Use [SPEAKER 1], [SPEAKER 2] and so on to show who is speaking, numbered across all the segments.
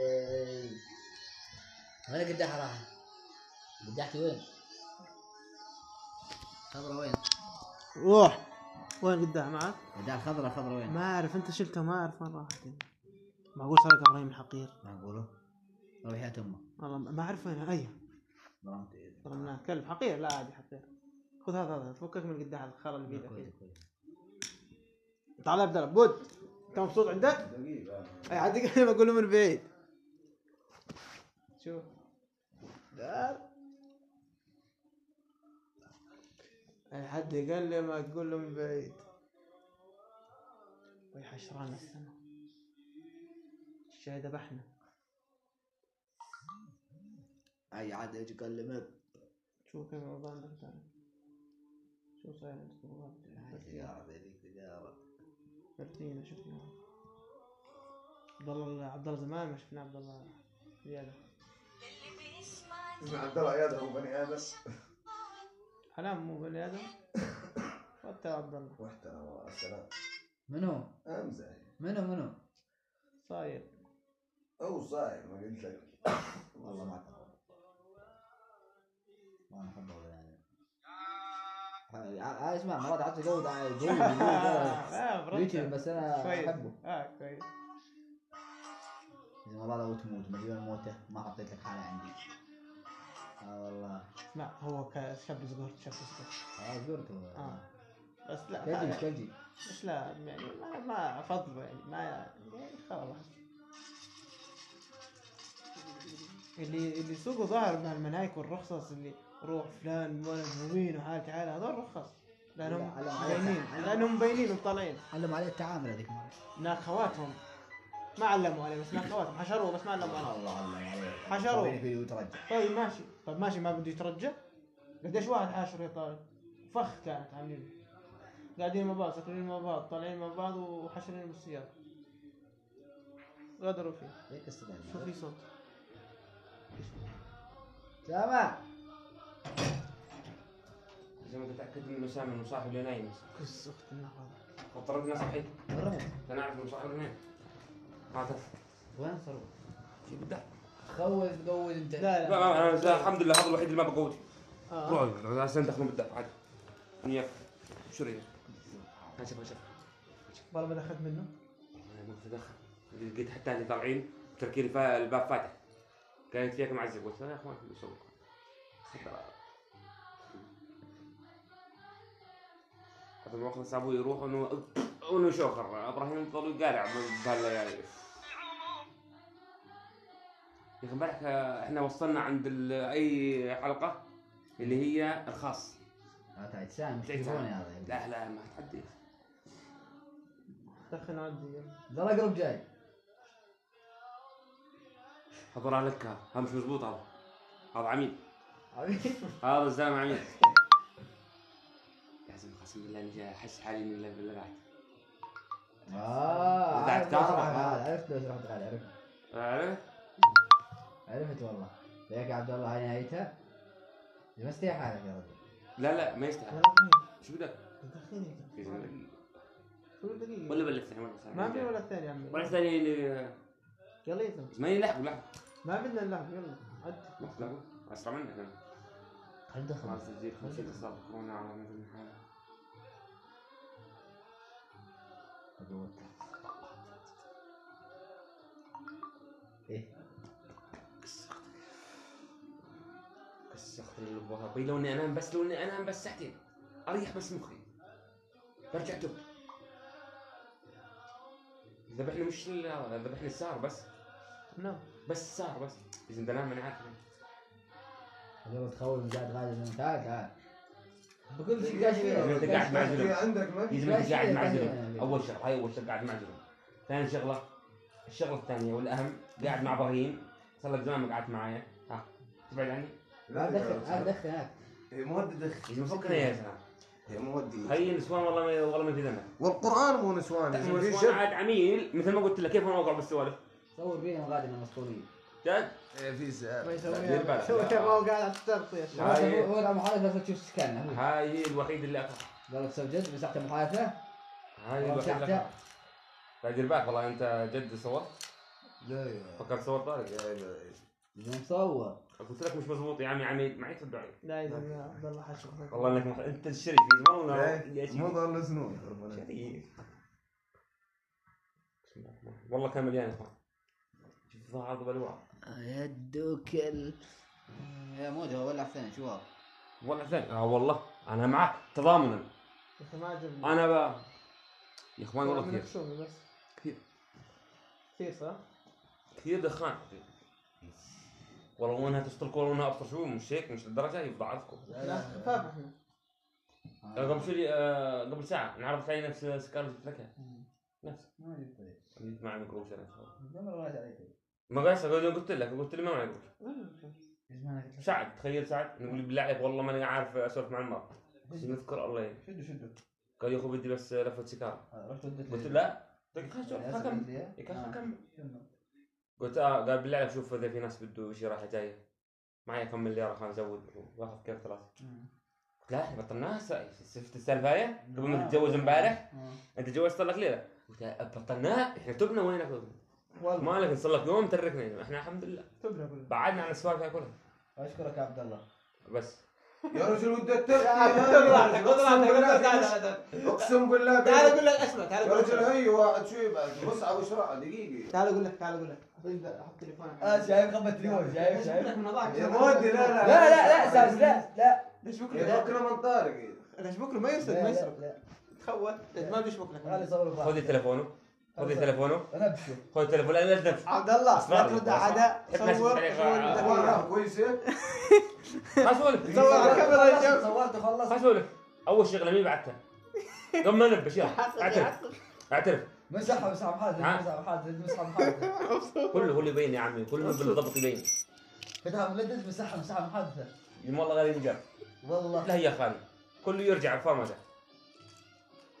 [SPEAKER 1] أمم. وين القداحة راحت؟ قداحتي وين؟ خضرة وين؟
[SPEAKER 2] روح وين قدام معك؟
[SPEAKER 1] قداح خضرة خضرة وين؟
[SPEAKER 2] ما اعرف انت شلته ما اعرف وين راحت يعني. معقول سرق ابراهيم الحقير
[SPEAKER 1] معقوله؟ روح حياة امه
[SPEAKER 2] والله ما ما اعرف وين اي
[SPEAKER 1] ظلمت إيدك.
[SPEAKER 2] ظلمناه كلب حقير لا عادي حقير خذ هذا هذا فكك من القداح الخرا اللي
[SPEAKER 1] كويس،
[SPEAKER 2] بيدك فيه.
[SPEAKER 1] كويس.
[SPEAKER 2] تعال يا بدر بود انت مبسوط عندك؟ اي عاد انا بقوله من بعيد شوف تعال اي حد يكلمك قول له من بعيد ويحشران السما الشاي ذبحنا
[SPEAKER 1] اي عاد يجي يكلمك
[SPEAKER 2] شوف كيف الوضع عندك تعال. شوف صاير عندك الوضع
[SPEAKER 1] سيارة ذيك سيارة
[SPEAKER 2] فرتينا شفنا عبد الله عبد الله زمان ما شفنا عبد الله زياده
[SPEAKER 3] اسمع عبد الله عياد هو بني ادم
[SPEAKER 2] حلام مو بني ادم وانت يا عبد الله
[SPEAKER 3] واحترم السلام
[SPEAKER 1] منو؟
[SPEAKER 3] امزح
[SPEAKER 1] منو منو؟
[SPEAKER 2] صاير
[SPEAKER 3] او صاير ما قلت لك
[SPEAKER 1] والله ما تعرف ما انا احبه ولا يعني ع- ع- اسمع مرات عاد آه، جو
[SPEAKER 2] آه، مرتب.
[SPEAKER 1] يوتيوب بس انا
[SPEAKER 2] كويس
[SPEAKER 1] احبه
[SPEAKER 2] اه كويس
[SPEAKER 1] إذا والله لو تموت مليون موته ما حطيت لك حاله عندي اه والله
[SPEAKER 2] لا هو ك- شاب صغير شاب صغير
[SPEAKER 1] اه زرته
[SPEAKER 2] اه بس لا
[SPEAKER 1] كجي مش
[SPEAKER 2] ما-
[SPEAKER 1] كجي
[SPEAKER 2] بس لا يعني ما, ما فضله يعني ما يعني خلاص اللي اللي سوقه ظاهر مع المنايك والرخصص اللي روح فلان ولد مؤمن وحال تعالى هذول رخص لانهم
[SPEAKER 1] لا، لا،
[SPEAKER 2] باينين
[SPEAKER 1] لا، لا.
[SPEAKER 2] لانهم باينين وطالعين
[SPEAKER 1] علم عليه التعامل هذيك المره
[SPEAKER 2] هناك خواتهم ما علموا عليه بس هناك خواتهم حشروه بس ما علموا عليه
[SPEAKER 1] الله علم عليه
[SPEAKER 2] حشره.
[SPEAKER 1] سويني فيديو وترجع
[SPEAKER 2] طيب ماشي طيب ماشي ما بده يترجع قديش واحد حاشر يا طارق فخ كانت عاملين قاعدين مع بعض ساكنين مع بعض طالعين مع بعض وحشرين بالسيارة غدروا فيه
[SPEAKER 1] ليك
[SPEAKER 2] شو في
[SPEAKER 1] الصدق
[SPEAKER 2] صوت
[SPEAKER 1] سامع
[SPEAKER 4] زي ما تتاكد انه سامي المصاحب اللي نايم
[SPEAKER 2] كس اخت النهار
[SPEAKER 4] وطردنا صحيح
[SPEAKER 1] وين رموا؟
[SPEAKER 4] تنعرف المصاحب اللي نايم ما تعرف
[SPEAKER 1] وين صاروا؟
[SPEAKER 4] شو بدك
[SPEAKER 1] خوز تقوز انت
[SPEAKER 4] لا
[SPEAKER 2] لا لا
[SPEAKER 4] لا انا زي- الحمد لله هذا الوحيد اللي ما بقوتي
[SPEAKER 2] آه.
[SPEAKER 4] روحوا انا هسه ندخلهم بالدفع عادي وياك شري هشوف هشوف
[SPEAKER 2] والله ما دخلت منه
[SPEAKER 4] انا ما كنت ادخل لقيت حتى اللي طالعين تركي لي فا- الباب فاتح كانت فيك معزب قلت يا اخوان شو بسوي هذا الموقف صعب يروح انه انه شوخر ابراهيم يضل يقارع بهالليالي يا اخي امبارح آه، احنا وصلنا عند ال- اي حلقه اللي هي الخاص
[SPEAKER 1] لا تعال سامع مش
[SPEAKER 4] تعال.
[SPEAKER 1] تليفوني هذا
[SPEAKER 4] لا لا ما تعدي
[SPEAKER 2] دخل عندي
[SPEAKER 1] ترى اقرب جاي
[SPEAKER 4] حضر عليك هذا مش مزبوط هذا هذا عميل
[SPEAKER 1] حبيبي
[SPEAKER 4] هذا الزلمه عميل لازم قسم بالله اني جاي احس حالي اني لا- لا بعد
[SPEAKER 1] اه
[SPEAKER 4] بعد
[SPEAKER 1] عرفت لو شرحت غالي، عرفت لو
[SPEAKER 4] كهرباء.
[SPEAKER 1] شرحت غالي عرفت
[SPEAKER 2] أه؟
[SPEAKER 4] عرفت؟
[SPEAKER 1] عرفت والله ذاك يا عبد الله هاي نهايتها مستحي حالك يا رجل
[SPEAKER 4] لا لا ما يستاهل
[SPEAKER 2] انا فين
[SPEAKER 4] شو بدك؟
[SPEAKER 2] دخلني
[SPEAKER 4] في زمن.
[SPEAKER 2] كل دقيقة
[SPEAKER 4] ولا بلشت الحين ولا
[SPEAKER 2] ما في ولا ثاني يا عمي
[SPEAKER 4] ولا ثاني اللي-
[SPEAKER 2] يلا يتم
[SPEAKER 4] زماني لحق لحق
[SPEAKER 2] ما بدنا نلعب يلا عد
[SPEAKER 4] لحق لحق اسرع منك انا
[SPEAKER 1] خل
[SPEAKER 4] خلاص
[SPEAKER 1] دخل
[SPEAKER 4] تسجيل 50 اصابه كورونا على مثل الحاله
[SPEAKER 1] ايه
[SPEAKER 4] كسخت لي الظهر بي لو اني انام بس لو اني انام بس ساعتين اريح بس مخي برجع توب ذبحنا مش ال- هذا، ذبحنا السار بس
[SPEAKER 2] نعم
[SPEAKER 4] بس السار بس اذا بنام انا عارف
[SPEAKER 1] هذول تخوف زاد غالي زين. تعال تعال بكل شيء قاعد
[SPEAKER 4] أنت قاعد مع
[SPEAKER 3] في عندك ما
[SPEAKER 4] لازم
[SPEAKER 1] لا
[SPEAKER 4] انت قاعد
[SPEAKER 1] شيء
[SPEAKER 4] مع
[SPEAKER 1] ثاني
[SPEAKER 4] زلم
[SPEAKER 1] يعني.
[SPEAKER 4] اول شغله هاي اول شغله قاعد مع زلم ثاني شغله الشغله الثانيه والاهم قاعد مع ابراهيم صار لك زمان ما قعدت معايا ها تبعد عني
[SPEAKER 1] ما ادخل ما ادخل هناك
[SPEAKER 3] هي مودي دخ
[SPEAKER 4] لازم فكنا يا زلمه
[SPEAKER 3] هي مودي
[SPEAKER 4] هي النسوان والله ما والله ما في ذنب
[SPEAKER 3] والقران مو نسوان
[SPEAKER 4] تعرف إنه
[SPEAKER 3] في
[SPEAKER 4] النسوان
[SPEAKER 3] شر
[SPEAKER 4] عاد عميل مثل ما قلت لك كيف انا اوقع بالسوالف
[SPEAKER 1] صور بيهم غادي من الاسطوريه
[SPEAKER 4] جد
[SPEAKER 3] في
[SPEAKER 2] ما
[SPEAKER 3] سؤال
[SPEAKER 4] دير بالك.
[SPEAKER 2] يسويها شوف كيف هو قاعد على الترط يا شباب
[SPEAKER 4] هاي.
[SPEAKER 1] هاي هو العب محادثه لازم تشوف سكاننا
[SPEAKER 4] هاي هي الوحيد اللي اقع
[SPEAKER 1] قال لك سجلت مسحت المحادثه
[SPEAKER 4] هاي هي الوحيد اللي اقع لا دير بالك والله انت جد صورت
[SPEAKER 3] لا يا
[SPEAKER 4] فكرت صور طارق
[SPEAKER 3] لا لا
[SPEAKER 1] إذا مصور
[SPEAKER 4] قلت لك مش مضبوط يا عمي عمي معي ترد علي
[SPEAKER 2] لا يا زلمه عبد الله حشر
[SPEAKER 4] والله انك مح... انت الشريف يا زلمه والله يا
[SPEAKER 3] إيه، مو
[SPEAKER 4] شيخ.
[SPEAKER 3] ضل سنون ربنا
[SPEAKER 4] شريف بسم الله الرحمن الرحيم. والله يعني. كان مليان اخوان شوف الظهر ضرب الوعر
[SPEAKER 1] يا الدوكل يا مود هو ولع ثاني شو هذا؟
[SPEAKER 4] والله زين اه والله انا معك تضامنا
[SPEAKER 2] انت ما عجبني
[SPEAKER 4] انا ب... يا اخوان والله
[SPEAKER 2] من
[SPEAKER 4] كثير
[SPEAKER 2] الخصوم بس
[SPEAKER 4] كثير
[SPEAKER 2] كثير صح؟
[SPEAKER 4] كثير دخان والله وانها تشطر الكوره وانها ابصر شو مش هيك مش للدرجه يضعفكم
[SPEAKER 2] لا خفاف احنا
[SPEAKER 4] قبل شو لي آه، قبل ساعه نعرض علي نفس سكارلت قلت لك نفس
[SPEAKER 1] ما يدري
[SPEAKER 4] جيت معي ميكروبس
[SPEAKER 1] ما
[SPEAKER 4] انا
[SPEAKER 1] رأيت عليك
[SPEAKER 4] ما قاعد أقول- قلت لك قلت لي ما معي ميكروبس
[SPEAKER 1] ايش ما قلت
[SPEAKER 4] سعد تخيل سعد نقول بالله عليك والله ماني عارف اسولف مع المرأة بس نذكر الله يعين
[SPEAKER 1] شدوا شدوا
[SPEAKER 4] قال يا اخو بدي بس لفه سيجاره
[SPEAKER 1] رحت وديت
[SPEAKER 4] قلت له لا قلت خلاص شوف خلاص كمل إيه، خلاص كمل قلت اه قال بالله عليك شوف اذا في ناس بده شي رايحه جايه معي كم مليار خلنا نزود واخذ كيف ثلاثه قلت لا احنا بطلناها شفت السالفه هاي قبل ما تتجوز امبارح انت تجوزت صار لك ليله قلت لها بطلناها احنا تبنا وينك
[SPEAKER 2] والله
[SPEAKER 4] مالك نصلي لك يوم تركنا يعني. احنا الحمد لله
[SPEAKER 2] تبرع بالله
[SPEAKER 4] بعدنا عن السوالف هاي كلها
[SPEAKER 1] اشكرك يا عبد الله
[SPEAKER 4] بس
[SPEAKER 3] يا رجل ودك تركي اقسم بالله
[SPEAKER 2] تعال اقول لك اسمع تعال
[SPEAKER 3] يا
[SPEAKER 2] اقول
[SPEAKER 3] رجل
[SPEAKER 2] لك
[SPEAKER 3] هي واحد شو يبعد مصعب وشراع دقيقه
[SPEAKER 2] تعال اقول لك تعال اقول لك ابدا احط تليفونك
[SPEAKER 1] اه شايف خبة اليوم شايف شايف
[SPEAKER 2] شايف من وضعك
[SPEAKER 3] يا مودي لا
[SPEAKER 1] لا
[SPEAKER 3] لا
[SPEAKER 1] لا لا ساز لا لا
[SPEAKER 2] ليش
[SPEAKER 3] يا
[SPEAKER 2] بكره؟
[SPEAKER 3] فكرة من طارق
[SPEAKER 2] ليش بكره ما يرسل ما يسرق تخوت ما بديش بكره
[SPEAKER 1] خلي صور
[SPEAKER 4] خذي تليفونه خذي تلتليفونه
[SPEAKER 1] انا ابشر
[SPEAKER 4] خذي تليفونه لا تنفع
[SPEAKER 2] عبد الله لا ترد على عدا
[SPEAKER 4] تحب ناس
[SPEAKER 2] صور
[SPEAKER 4] تتعلق على-
[SPEAKER 2] صور
[SPEAKER 3] والله كويسه
[SPEAKER 4] ما اسولف
[SPEAKER 2] صور على الكاميرا يا شباب.
[SPEAKER 1] صورت
[SPEAKER 4] ما
[SPEAKER 1] وخلصت
[SPEAKER 4] اسولف اول شغله مين بعتها؟ قبل ما نبش يلا اعترف اعترف
[SPEAKER 1] مسحها مسحها بحالك
[SPEAKER 4] ها؟
[SPEAKER 1] مسحها بحالك مسحها بحالك
[SPEAKER 4] كله هو اللي يبين يا عمي كله بالضبط يبين
[SPEAKER 1] فتحها ملدد مسحها مسحها بحالك
[SPEAKER 4] والله غالي نقر
[SPEAKER 1] والله
[SPEAKER 4] لا هي خالي كله يرجع فمته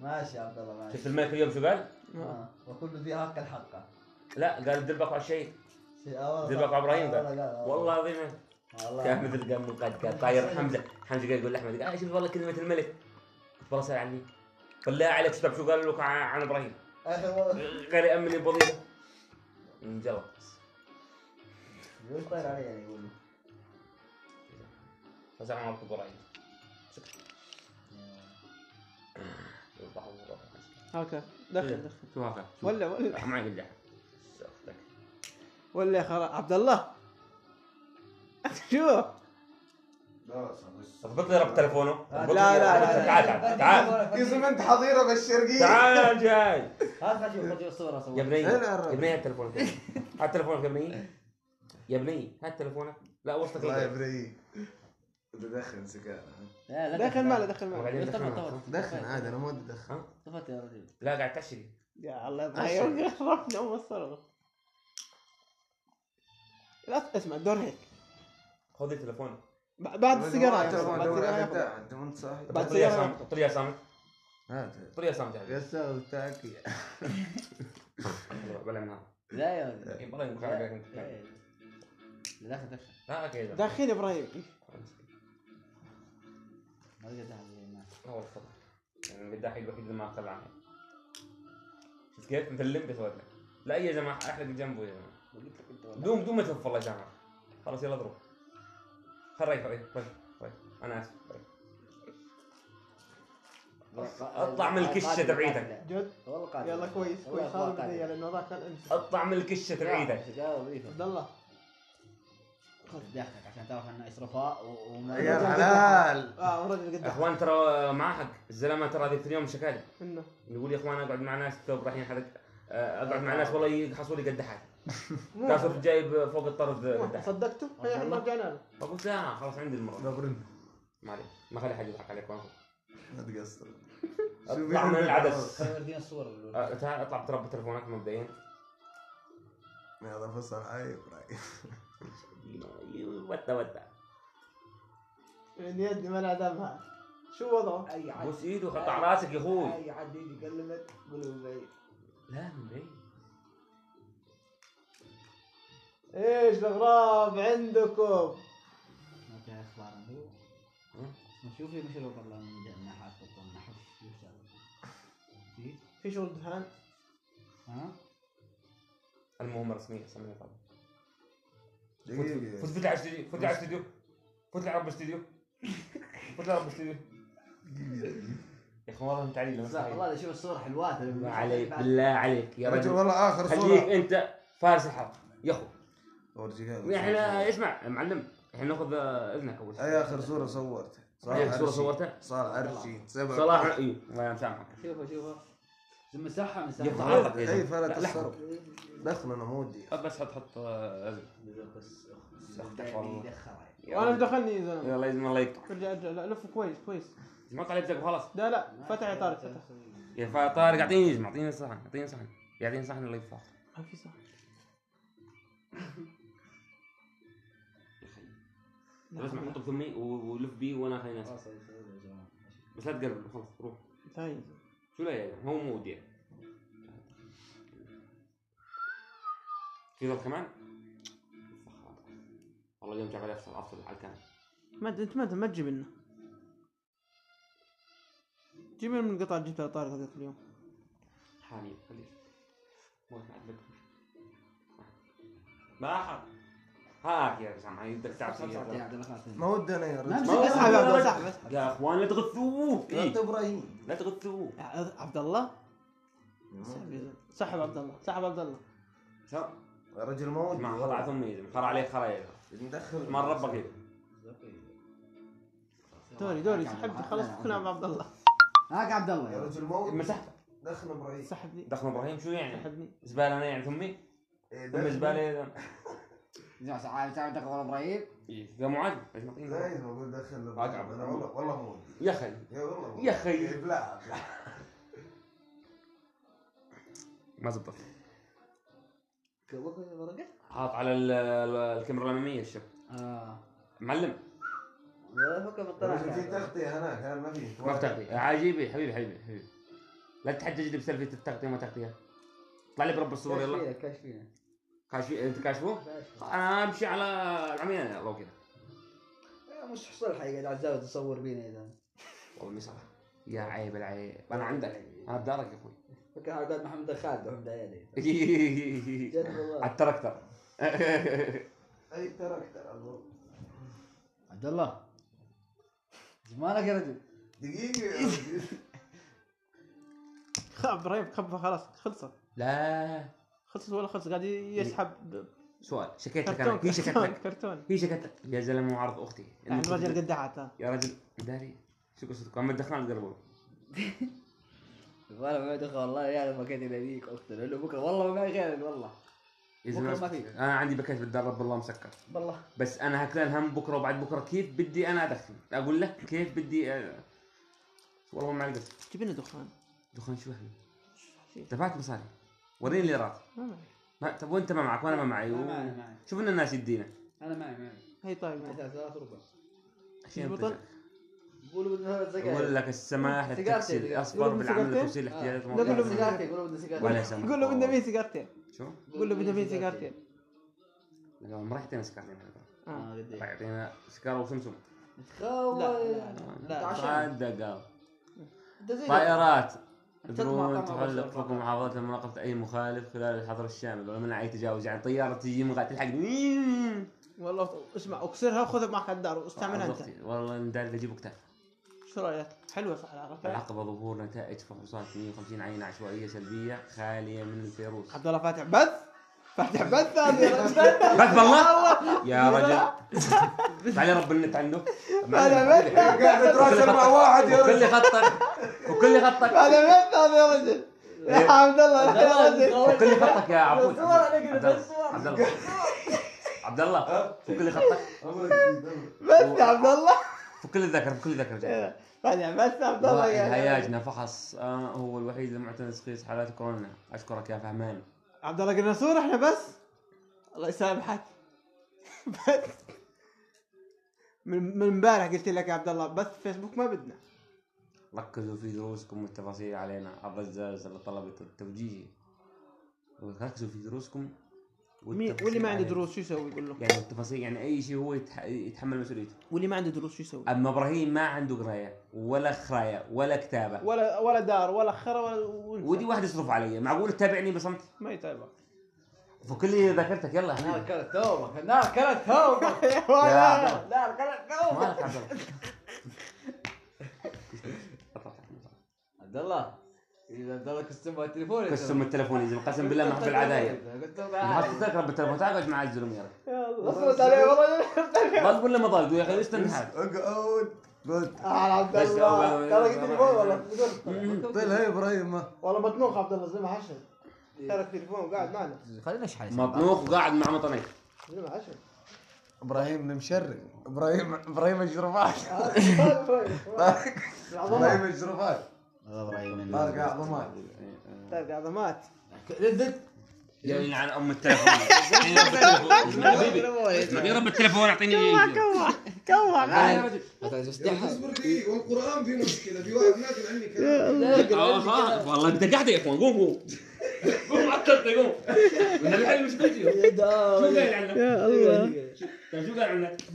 [SPEAKER 1] ماشي يا عبد الله ماشي
[SPEAKER 4] شفت الملك اليوم شو قال؟
[SPEAKER 1] آه. وكل ذي حق الحقه
[SPEAKER 4] لا قال الدب اقوى شيء
[SPEAKER 1] شيء- آه، والله
[SPEAKER 4] ذي
[SPEAKER 1] صح.
[SPEAKER 4] بقى إبراهيم
[SPEAKER 1] آه،
[SPEAKER 4] ذا.
[SPEAKER 1] لا، لا،
[SPEAKER 4] والله العظيم
[SPEAKER 1] والله.
[SPEAKER 4] كان مثل قام من قد قال طاير حمزه حمزه قال يقول لاحمد قال آه شفت والله كلمه الملك قلت والله سأل عني بالله عليك شوف شو قال لك عن عن ابراهيم
[SPEAKER 1] اخي آه، والله
[SPEAKER 4] قال يامني بوظيفه انجلط
[SPEAKER 1] وش طاير علي يعني يقول لي؟
[SPEAKER 4] فزع عمر ابراهيم
[SPEAKER 1] آه.
[SPEAKER 4] آه،
[SPEAKER 2] هكا دخل دخل
[SPEAKER 4] شو هذا؟
[SPEAKER 2] ولا ولا
[SPEAKER 4] معي بالله
[SPEAKER 2] ولا خلاص عبد الله شوف
[SPEAKER 4] اضبط لي رقم تلفونه اضبط لي
[SPEAKER 2] آه، لا، لا، لا، لا.
[SPEAKER 4] تعال تعال تعال
[SPEAKER 3] يا زلمه انت حظيره بالشرقيه
[SPEAKER 4] تعال جاي
[SPEAKER 1] هات خليني اشوف خليني صوره
[SPEAKER 4] يا
[SPEAKER 1] صور
[SPEAKER 4] بني
[SPEAKER 2] أنا
[SPEAKER 4] يا
[SPEAKER 2] أرى.
[SPEAKER 4] بني هات تلفونك هات تلفونك يا بني يا بني هات تلفونك لا وصلك
[SPEAKER 3] الله
[SPEAKER 4] لغير.
[SPEAKER 3] يبريك بدخن سكان
[SPEAKER 1] لا، لا
[SPEAKER 2] دخل
[SPEAKER 1] تدخل.
[SPEAKER 2] ماله دخل ماله
[SPEAKER 4] وبعدين
[SPEAKER 1] بس طبعا
[SPEAKER 4] دخلنا.
[SPEAKER 1] طبعا.
[SPEAKER 3] دخن عادي انا ما ودي ادخن
[SPEAKER 1] طفت يا رجل
[SPEAKER 4] لا قاعد تشري
[SPEAKER 2] يا الله
[SPEAKER 3] أشهر.
[SPEAKER 2] يضحك رحنا وصلنا لا اسمع الدور هيك
[SPEAKER 4] خذ تلفونك
[SPEAKER 2] ب- بعد السيجاره
[SPEAKER 3] انت ما
[SPEAKER 2] بعد
[SPEAKER 3] دور
[SPEAKER 2] السيجارة
[SPEAKER 3] على
[SPEAKER 2] ياخذ.
[SPEAKER 3] بتاع انت ما انت صاحي
[SPEAKER 2] بعد
[SPEAKER 4] طلع يا
[SPEAKER 2] سيارة.
[SPEAKER 4] سامت طلع يا سامت
[SPEAKER 3] هذا
[SPEAKER 4] طلع يا سامت يا حبيبي.
[SPEAKER 3] قساوي بتاعك يا
[SPEAKER 4] بلا من هذا
[SPEAKER 1] لا يا رجل
[SPEAKER 4] إيه، ابراهيم
[SPEAKER 1] لا،
[SPEAKER 4] قاعد قاعد
[SPEAKER 1] لا،
[SPEAKER 4] يتكلم.
[SPEAKER 1] لا دخل دخل
[SPEAKER 4] لا اوكي لا.
[SPEAKER 2] داخل ابراهيم
[SPEAKER 1] ما أقدر أدخل.
[SPEAKER 4] هو الفضل يعني بالداحي الوحيد اللي ما طلع شفت كيف مثل اللمبي سويت لك لا يا جماعه احلق جنبه يا جماعه
[SPEAKER 1] قلت لك أنت والله.
[SPEAKER 4] دوم دوم ما تلف والله يا جماعه خلاص يلا اضرب خل ريح ريح ريح ريح انا اسف ريح. أطلع من الكشة
[SPEAKER 1] قاتل-
[SPEAKER 4] تبعيتك.
[SPEAKER 1] قاتل.
[SPEAKER 2] جد
[SPEAKER 1] والله قاتل
[SPEAKER 2] يلا كويس
[SPEAKER 1] والله
[SPEAKER 2] كويس هذا
[SPEAKER 1] قاتل.
[SPEAKER 2] بدي إياه، لانه ذاك كان انت
[SPEAKER 4] اطلع من إيه الكشه بعيدك
[SPEAKER 1] سيجارة وظيفة.
[SPEAKER 2] عبد الله
[SPEAKER 1] داخلك عشان تعرف انه اسرفاء و- وما
[SPEAKER 2] يا
[SPEAKER 3] حلال
[SPEAKER 2] اه ورجل قدام
[SPEAKER 4] اخوان ترى مع حق الزلمه ترى ذيك اليوم شكالي
[SPEAKER 2] انه
[SPEAKER 4] يقول يا اخوان اقعد مع ناس تو رايحين حلق آه، اقعد مع ناس والله يقحصوا لي قدحات
[SPEAKER 2] مو
[SPEAKER 4] قاصد جايب فوق الطرد
[SPEAKER 2] مو-
[SPEAKER 4] قدحات
[SPEAKER 2] صدقته هي احنا ما إيه، رجعنا له
[SPEAKER 4] فقلت لا خلاص عندي المره
[SPEAKER 3] بقرن
[SPEAKER 4] معليش ما خلي حد يضحك عليك وانكم
[SPEAKER 3] ما تقصر شوف
[SPEAKER 4] اطلع من
[SPEAKER 3] يا
[SPEAKER 4] العدس
[SPEAKER 1] صور فينا الصور الأولى.
[SPEAKER 4] آه، تعال اطلع بتربى تلفونك مبدئيا
[SPEAKER 3] هذا فصل عيب رايك
[SPEAKER 4] ودا ودا
[SPEAKER 2] اليد يعني ما لها دمها شو وضعه؟
[SPEAKER 1] اي عد
[SPEAKER 4] بوس ايده قطع راسك يا اخوي
[SPEAKER 1] اي عد يجي يكلمك قول له بعيد.
[SPEAKER 4] لا مبين
[SPEAKER 2] ايش الاغراب عندكم؟
[SPEAKER 1] ما في اخبار عندي.
[SPEAKER 4] ها؟
[SPEAKER 1] نشوف لي مش الوضع والله من جهة الناحية الخطة، من ناحية شو الشغلة. في؟
[SPEAKER 2] في شغل دهان
[SPEAKER 1] ها؟
[SPEAKER 4] المهمه رسميه سميها طبعا فوت- فوت- فوت
[SPEAKER 3] دقيقة
[SPEAKER 4] فوت لعب استوديو فوت لعب استوديو فوت لعب بالاستوديو فوت لعب بالاستوديو يا اخي والله انت علي
[SPEAKER 1] لا والله إذا شوف الصور حلوات
[SPEAKER 4] بالله طيب. عليك بالله عليك يا
[SPEAKER 3] رجل
[SPEAKER 4] رجل
[SPEAKER 3] والله آخر
[SPEAKER 4] خليك
[SPEAKER 3] صورة
[SPEAKER 4] انت فارس الحلقه يا اخو
[SPEAKER 3] أورجيك
[SPEAKER 4] احنا اسمع يا معلم احنا ناخذ اذنك اول شيء
[SPEAKER 3] أي آخر صورة صورتها
[SPEAKER 4] أي آخر صورة
[SPEAKER 3] عرشي.
[SPEAKER 4] صورتها؟
[SPEAKER 3] صار عرشي سبع
[SPEAKER 4] صلاح ايوه الله يسامحك
[SPEAKER 1] شوفه شوفه مسحها
[SPEAKER 4] يا
[SPEAKER 1] مسحها
[SPEAKER 4] تعال.
[SPEAKER 3] فرد أي فرد
[SPEAKER 4] لا، لحظة.
[SPEAKER 3] الصرف دخل نمودي
[SPEAKER 4] طب بس حط حط آه، أزرق.
[SPEAKER 1] بس
[SPEAKER 4] استغفر الله.
[SPEAKER 2] وانا مدخلني يا زلمه
[SPEAKER 4] يلا يزم الله يقطع
[SPEAKER 2] ارجع ارجع لا لف كويس كويس
[SPEAKER 4] جمعت عليه بزق خلاص
[SPEAKER 2] لا لا فتح يا طارق فتح
[SPEAKER 4] يا فا- طارق اعطيني يزم اعطيني صحن اعطيني صحن يعطيني صحن الله يفاق
[SPEAKER 2] ما في صح
[SPEAKER 4] بس
[SPEAKER 2] نعم.
[SPEAKER 4] ما حطه بثمي و- ولف بيه وانا خليني أسحب. بس لا تقرب خلاص روح
[SPEAKER 2] ثاني
[SPEAKER 4] شو لا يعني هو مود يعني في ظل كمان والله اليوم جاب علي افصل افصل على الكامل
[SPEAKER 2] ما ت- انت ما ت- ما تجيب لنا جيب لنا من القطع اللي جبتها طارق هذاك اليوم
[SPEAKER 4] حاليا خليه موت ما عاد بكر ما احد هاك يا سامع يدك تعب فيه.
[SPEAKER 3] ما ودنا يا
[SPEAKER 1] ما
[SPEAKER 3] رجل
[SPEAKER 1] مسك.
[SPEAKER 2] اسحب يا عبد الله اسحب اسحب
[SPEAKER 4] يا اخوان لا تغثوه
[SPEAKER 3] لا
[SPEAKER 4] إيه،
[SPEAKER 3] أنت إبراهيم
[SPEAKER 4] لا تغثوه
[SPEAKER 2] يا عبد الله اسحب يا زلمة. سحب عبد الله سحب عبد الله
[SPEAKER 4] سام،
[SPEAKER 3] يا رجل ما ودي
[SPEAKER 4] ما خلع
[SPEAKER 3] والله.
[SPEAKER 4] ثمي يزم خلع عليه خلع يزم
[SPEAKER 3] ندخل
[SPEAKER 4] ما ربك يزم
[SPEAKER 2] دوري دوري
[SPEAKER 1] آه،
[SPEAKER 2] سحبت خلاص كنا عبد الله
[SPEAKER 1] هاك آه، عبد
[SPEAKER 3] يا
[SPEAKER 1] الله
[SPEAKER 3] رجل ما ودي
[SPEAKER 4] مسحته
[SPEAKER 3] دخل إبراهيم
[SPEAKER 2] سحبني
[SPEAKER 4] دخل ابراهيم شو يعني
[SPEAKER 2] سحبني
[SPEAKER 4] زباله انا يعني ثمي
[SPEAKER 3] إيه،
[SPEAKER 4] ثم
[SPEAKER 3] دخل.
[SPEAKER 4] زباله يزم
[SPEAKER 1] زين تعال تعال دخل ورا ابراهيم
[SPEAKER 4] إيه، يا معاذ إيش معطيني؟
[SPEAKER 1] إيه.
[SPEAKER 3] لا يا زلمة، أقول دخل إبراهيم.
[SPEAKER 4] أقعد.
[SPEAKER 3] أنا والله والله ما ودي
[SPEAKER 4] يا اخي
[SPEAKER 3] يا والله ما
[SPEAKER 4] يا
[SPEAKER 3] ودي.
[SPEAKER 4] أخي.
[SPEAKER 3] إيه، بلا بلا.
[SPEAKER 4] ما زبطت
[SPEAKER 1] كوكو ورقه
[SPEAKER 4] حاط على ال- ال- الكاميرا الاماميه الشب
[SPEAKER 1] اه
[SPEAKER 4] معلم
[SPEAKER 1] لا فكر
[SPEAKER 3] يا رجل في
[SPEAKER 1] بالطريقه
[SPEAKER 3] تغطية هناك هنا ما في
[SPEAKER 4] ما في تغطيه عجيبي حبيبي حبيبي حبيبي لا تحجج لي بسالفه التغطيه وما تغطيه طلع لي برب الصور يلا
[SPEAKER 1] كاشفينه
[SPEAKER 4] كاشفي انت كاشفه؟
[SPEAKER 1] كاشفينه
[SPEAKER 4] انا امشي على العميان يلا وكذا
[SPEAKER 1] مش حصل حاجه قاعد على الزاويه تصور بينا يا زلمه
[SPEAKER 4] والله ما يصلح يا عيب العيب انا عندك انا بدارك يا اخوي
[SPEAKER 1] فكر على قول محمد الخالد عمده عيالي جد
[SPEAKER 4] على
[SPEAKER 1] والله
[SPEAKER 4] التراكتر
[SPEAKER 3] أي تراكتر أظن
[SPEAKER 1] عبد الله زمانك يا رجل
[SPEAKER 3] دقيقة يا رجل.
[SPEAKER 2] خ- ابراهيم خبى خلاص خلصت
[SPEAKER 4] لا
[SPEAKER 2] خلصت ولا خلصت قاعد يسحب ب-
[SPEAKER 4] سؤال شكيت لك
[SPEAKER 2] كرتون
[SPEAKER 4] انا هي شكيت
[SPEAKER 2] كرتون
[SPEAKER 4] لك
[SPEAKER 2] كرتون
[SPEAKER 4] هي شكيت لك يا زلمه معارض اختي
[SPEAKER 2] يعني الرجل قد دعت ها.
[SPEAKER 4] يا رجل داري شو قصتكم اما الدخان تقربوا
[SPEAKER 1] والله ما دخل والله يعرف مكان يناديك اقتل له بكره والله ما غير والله
[SPEAKER 4] يا
[SPEAKER 1] بكرة
[SPEAKER 4] زلمة،
[SPEAKER 1] ما في.
[SPEAKER 4] انا عندي باكيت بتدرب بالله مسكر
[SPEAKER 1] بالله
[SPEAKER 4] بس انا هكلان هم بكره وبعد بكره كيف بدي انا ادخن اقول لك كيف بدي أ... والله ما عندك
[SPEAKER 2] جيب لنا دخان
[SPEAKER 4] دخان شو اهلي دفعت مصاري وريني الليرات
[SPEAKER 2] ما معي.
[SPEAKER 4] ما... طب وانت ما معك وانا ما معي
[SPEAKER 1] انا
[SPEAKER 4] و...
[SPEAKER 1] معي معي
[SPEAKER 4] شوف ان الناس يدينا
[SPEAKER 1] انا معي معي
[SPEAKER 2] هي طيب معي.
[SPEAKER 1] ثلاث ربع
[SPEAKER 4] عشان
[SPEAKER 2] البطل؟
[SPEAKER 4] تجي.
[SPEAKER 1] قولوا بدنا ثلاث سجاير
[SPEAKER 4] اقول لك السماح
[SPEAKER 1] سيجارتين،
[SPEAKER 4] للتكسيد
[SPEAKER 1] سيجارتين.
[SPEAKER 4] اصبر بالعمل
[SPEAKER 2] سيجارتين؟
[SPEAKER 4] لتوصيل احتياجات
[SPEAKER 1] آه.
[SPEAKER 2] لا، قول له
[SPEAKER 4] المواطنين.
[SPEAKER 2] بدنا-
[SPEAKER 1] سيجارتين قولوا بدنا سيجارتين
[SPEAKER 4] ولا سماح
[SPEAKER 2] قول له بدنا مين سيجارتين
[SPEAKER 4] شو؟
[SPEAKER 2] قول له بدنا مين سيجارتين
[SPEAKER 4] لا، ما راح يعطينا سكارتين هذا.
[SPEAKER 2] آه.
[SPEAKER 1] اه قديش
[SPEAKER 4] راح يعطينا سكار وسمسم
[SPEAKER 1] تخول
[SPEAKER 2] لا، لا، لا. لا،
[SPEAKER 1] عشان.
[SPEAKER 4] دقائق
[SPEAKER 1] انت زي-
[SPEAKER 4] طائرات
[SPEAKER 1] تطمع طمع
[SPEAKER 4] درون
[SPEAKER 1] بشر
[SPEAKER 4] تحلق
[SPEAKER 1] فقط.
[SPEAKER 4] حكم محافظة لمراقبة أي مخالف خلال الحظر الشامل ومنع أي تجاوز يعني طيارة تجي من قاعد تلحق
[SPEAKER 2] والله اسمع اكسرها وخذها معك على الدار واستعملها انت
[SPEAKER 4] أخوتي، والله إن داري بجيب كتاب
[SPEAKER 2] شو رايك؟ حلوه صح
[SPEAKER 1] طيب.
[SPEAKER 2] العرفه
[SPEAKER 4] عقب ظهور نتائج فحوصات 150 عينة عشوائية سلبية خالية من الفيروس
[SPEAKER 2] عبد الله فاتح بث فاتح بث هذا يا رجل
[SPEAKER 4] بس بالله يا رجل تعال يا رب النت عنده
[SPEAKER 2] هذا بث
[SPEAKER 3] قاعد أتراسل مع واحد يا رجل
[SPEAKER 4] وكل خطك وكل خطك
[SPEAKER 2] هذا بث هذا يا رجل يا عبد الله يا رجل
[SPEAKER 4] وكل خطك يا عبود
[SPEAKER 1] الصور عليك،
[SPEAKER 4] عبد الله.
[SPEAKER 1] الصور.
[SPEAKER 4] عبد الله عبد الله
[SPEAKER 2] أه؟
[SPEAKER 4] فك لي خطك
[SPEAKER 3] أقول لك،
[SPEAKER 2] بث يا عبد الله
[SPEAKER 4] فك لي الذكر فك لي الذكر
[SPEAKER 2] فاتح بث يا عبد الله يعني. يا رجل.
[SPEAKER 4] هياجنا فحص آه، هو الوحيد المعتمد تشخيص حالات كورونا اشكرك يا فهمان
[SPEAKER 2] عبد الله قناصور احنا بس الله يسامحك بس من من امبارح قلت لك يا عبد الله بث فيسبوك ما بدنا
[SPEAKER 4] ركزوا في دروسكم والتفاصيل علينا عبر الزلزال لطلبة التوجيهي ركزوا في دروسكم
[SPEAKER 2] مين واللي ما عنده دروس شو يسوي يقول له
[SPEAKER 4] يعني التفاصيل يعني اي شيء هو يتح- يتحمل مسؤوليته
[SPEAKER 2] واللي ما عنده دروس شو يسوي
[SPEAKER 4] اما ابراهيم ما عنده قرايه ولا خرايه ولا كتابه
[SPEAKER 2] ولا ولا دار ولا خرا ولا وانسى.
[SPEAKER 4] ودي واحد يصرف علي معقول تتابعني بصمت
[SPEAKER 2] ما يتابع
[SPEAKER 4] فكلي ذاكرتك يلا
[SPEAKER 1] النار
[SPEAKER 4] هنا
[SPEAKER 1] كلت ثوبك النار كلت ثوبك
[SPEAKER 4] لا.
[SPEAKER 1] النار كلت
[SPEAKER 4] مالك
[SPEAKER 1] ثوبك
[SPEAKER 4] عبد الله
[SPEAKER 1] عبد الله اذا عبد الله كسم تليفوني
[SPEAKER 4] قسم التليفون يزم قسم بالله ما احب العدايه
[SPEAKER 1] قلت
[SPEAKER 4] نحط
[SPEAKER 1] له
[SPEAKER 4] تقرب بالتليفون تقعد مع الزلم يا رجل
[SPEAKER 2] اصمت عليه والله
[SPEAKER 4] ضلق ولا ما ضلق يا اخي ايش تنحاز
[SPEAKER 3] اقعد قلت
[SPEAKER 2] على عبد
[SPEAKER 4] بس
[SPEAKER 2] الله
[SPEAKER 4] أول-
[SPEAKER 2] ترى قلت تليفون والله بدون-
[SPEAKER 3] طيب هي ابراهيم
[SPEAKER 2] والله بتنوخ عبد الله زلمه حشر ترى التليفون وقاعد معنا
[SPEAKER 1] خلينا نشحن
[SPEAKER 4] مطنوخ وقاعد مع مطنيك
[SPEAKER 2] زلمه حشر
[SPEAKER 3] ابراهيم المشرق ابراهيم ابراهيم الجرفاش
[SPEAKER 2] طيب،
[SPEAKER 3] ابراهيم
[SPEAKER 2] العظمات
[SPEAKER 3] الجرفاش
[SPEAKER 1] والله ابراهيم
[SPEAKER 3] طارق عظمات
[SPEAKER 2] طيب عظمات
[SPEAKER 4] يعني عن ام التليفون يعني رب التليفون. حبيبي حبيبي رب التليفون اعطيني
[SPEAKER 2] كوع كوع
[SPEAKER 4] يا رجل
[SPEAKER 3] اصبر دقيقة والقرآن في مشكلة في واحد ما يدري عني كلام
[SPEAKER 4] آه، خلاص. والله انت قاعد يا اخوان قوم قوم قوم عطلت قوم من الحين مش بيجي طيب، شو قايل عندك؟ شو قايل عندك؟